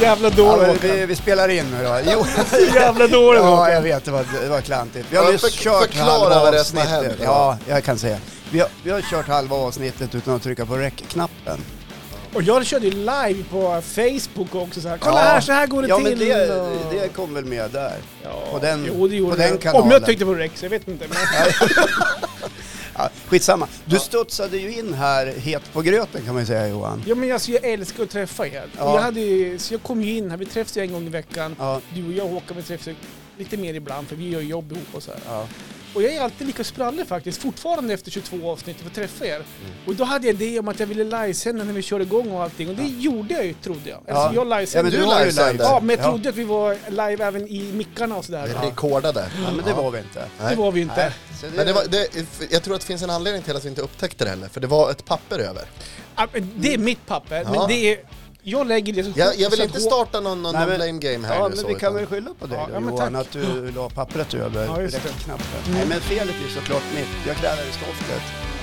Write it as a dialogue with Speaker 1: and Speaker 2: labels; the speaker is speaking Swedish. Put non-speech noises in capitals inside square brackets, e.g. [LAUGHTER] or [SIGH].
Speaker 1: jävla dåre.
Speaker 2: Hallå, vi, vi spelar in
Speaker 1: [LAUGHS]
Speaker 2: nu då. Jo,
Speaker 1: jävla dåre
Speaker 2: [LAUGHS] ja,
Speaker 1: Håkan.
Speaker 2: jag vet, det var, det var klantigt. Vi har
Speaker 3: Ja,
Speaker 2: nyss
Speaker 3: för-
Speaker 2: kört
Speaker 3: förklara
Speaker 2: halva
Speaker 3: vad det är som har
Speaker 2: avsnittet.
Speaker 3: hänt,
Speaker 2: Ja, jag kan säga. Vi har, vi har kört halva avsnittet utan att trycka på rec-knappen.
Speaker 1: Och jag körde ju live på Facebook också så här. Kolla
Speaker 2: Ja.
Speaker 1: här, så här går det
Speaker 2: Ja,
Speaker 1: till.
Speaker 2: men det,
Speaker 1: och-
Speaker 2: det kom väl med där.
Speaker 1: ja.
Speaker 2: på den-
Speaker 1: jo, det gjorde
Speaker 2: på den
Speaker 1: jag.
Speaker 2: kanalen.
Speaker 1: Om jag tyckte på Rex, jag vet inte. Men...
Speaker 2: [LAUGHS] Ja, skitsamma. Du studsade ju in här het på gröten kan man ju säga Johan.
Speaker 1: [LAUGHS] Ja men alltså jag älskar att träffa er.
Speaker 2: Ja.
Speaker 1: Jag hade, ju- så jag kom ju in här, vi träffas ju en gång i veckan.
Speaker 2: Ja,
Speaker 1: Du och jag och Håkan vi träffas ju lite mer ibland för vi gör ju jobb ihop och så här.
Speaker 2: ja.
Speaker 1: Och jag är alltid lika sprallig faktiskt, fortfarande efter 22 avsnitt för att träffa er.
Speaker 2: Mm.
Speaker 1: Och då hade jag idé om att jag ville livesända när vi körde igång och allting och det gjorde jag ju trodde jag. Alltså
Speaker 2: Ja.
Speaker 1: jag
Speaker 2: ja
Speaker 1: livesände.
Speaker 2: men
Speaker 1: Ja,
Speaker 2: du
Speaker 3: Du
Speaker 2: var ju
Speaker 3: livesänder.
Speaker 2: live.
Speaker 1: men, jag
Speaker 2: Ja.
Speaker 1: trodde att vi var live även i mickarna och sådär.
Speaker 3: Vi
Speaker 1: Ja.
Speaker 3: rekordade.
Speaker 2: Ja, men det var vi inte.
Speaker 1: Det var vi inte.
Speaker 2: Så
Speaker 3: Men det var, det, jag tror att det finns en anledning till att vi inte upptäckte det heller, för det var ett papper över.
Speaker 1: Ja, men Det är mitt papper,
Speaker 3: Ja.
Speaker 1: men det är... Jag lägger det så
Speaker 3: Jag, jag vill
Speaker 1: så att
Speaker 3: inte
Speaker 1: Hå-
Speaker 3: starta någon, någon
Speaker 2: Nej, men-
Speaker 3: blame game här
Speaker 2: Ja,
Speaker 3: nu
Speaker 2: men
Speaker 3: så,
Speaker 2: vi
Speaker 3: utan-
Speaker 2: kan väl skylla på dig
Speaker 1: Ja,
Speaker 2: då,
Speaker 1: ja, men
Speaker 2: Johan,
Speaker 1: tack.
Speaker 2: att du la pappret över
Speaker 1: Ja, just det.
Speaker 2: räckknappen.
Speaker 1: Mm.
Speaker 2: Nej, men felet är ju såklart mitt. Jag kräver i stoftet.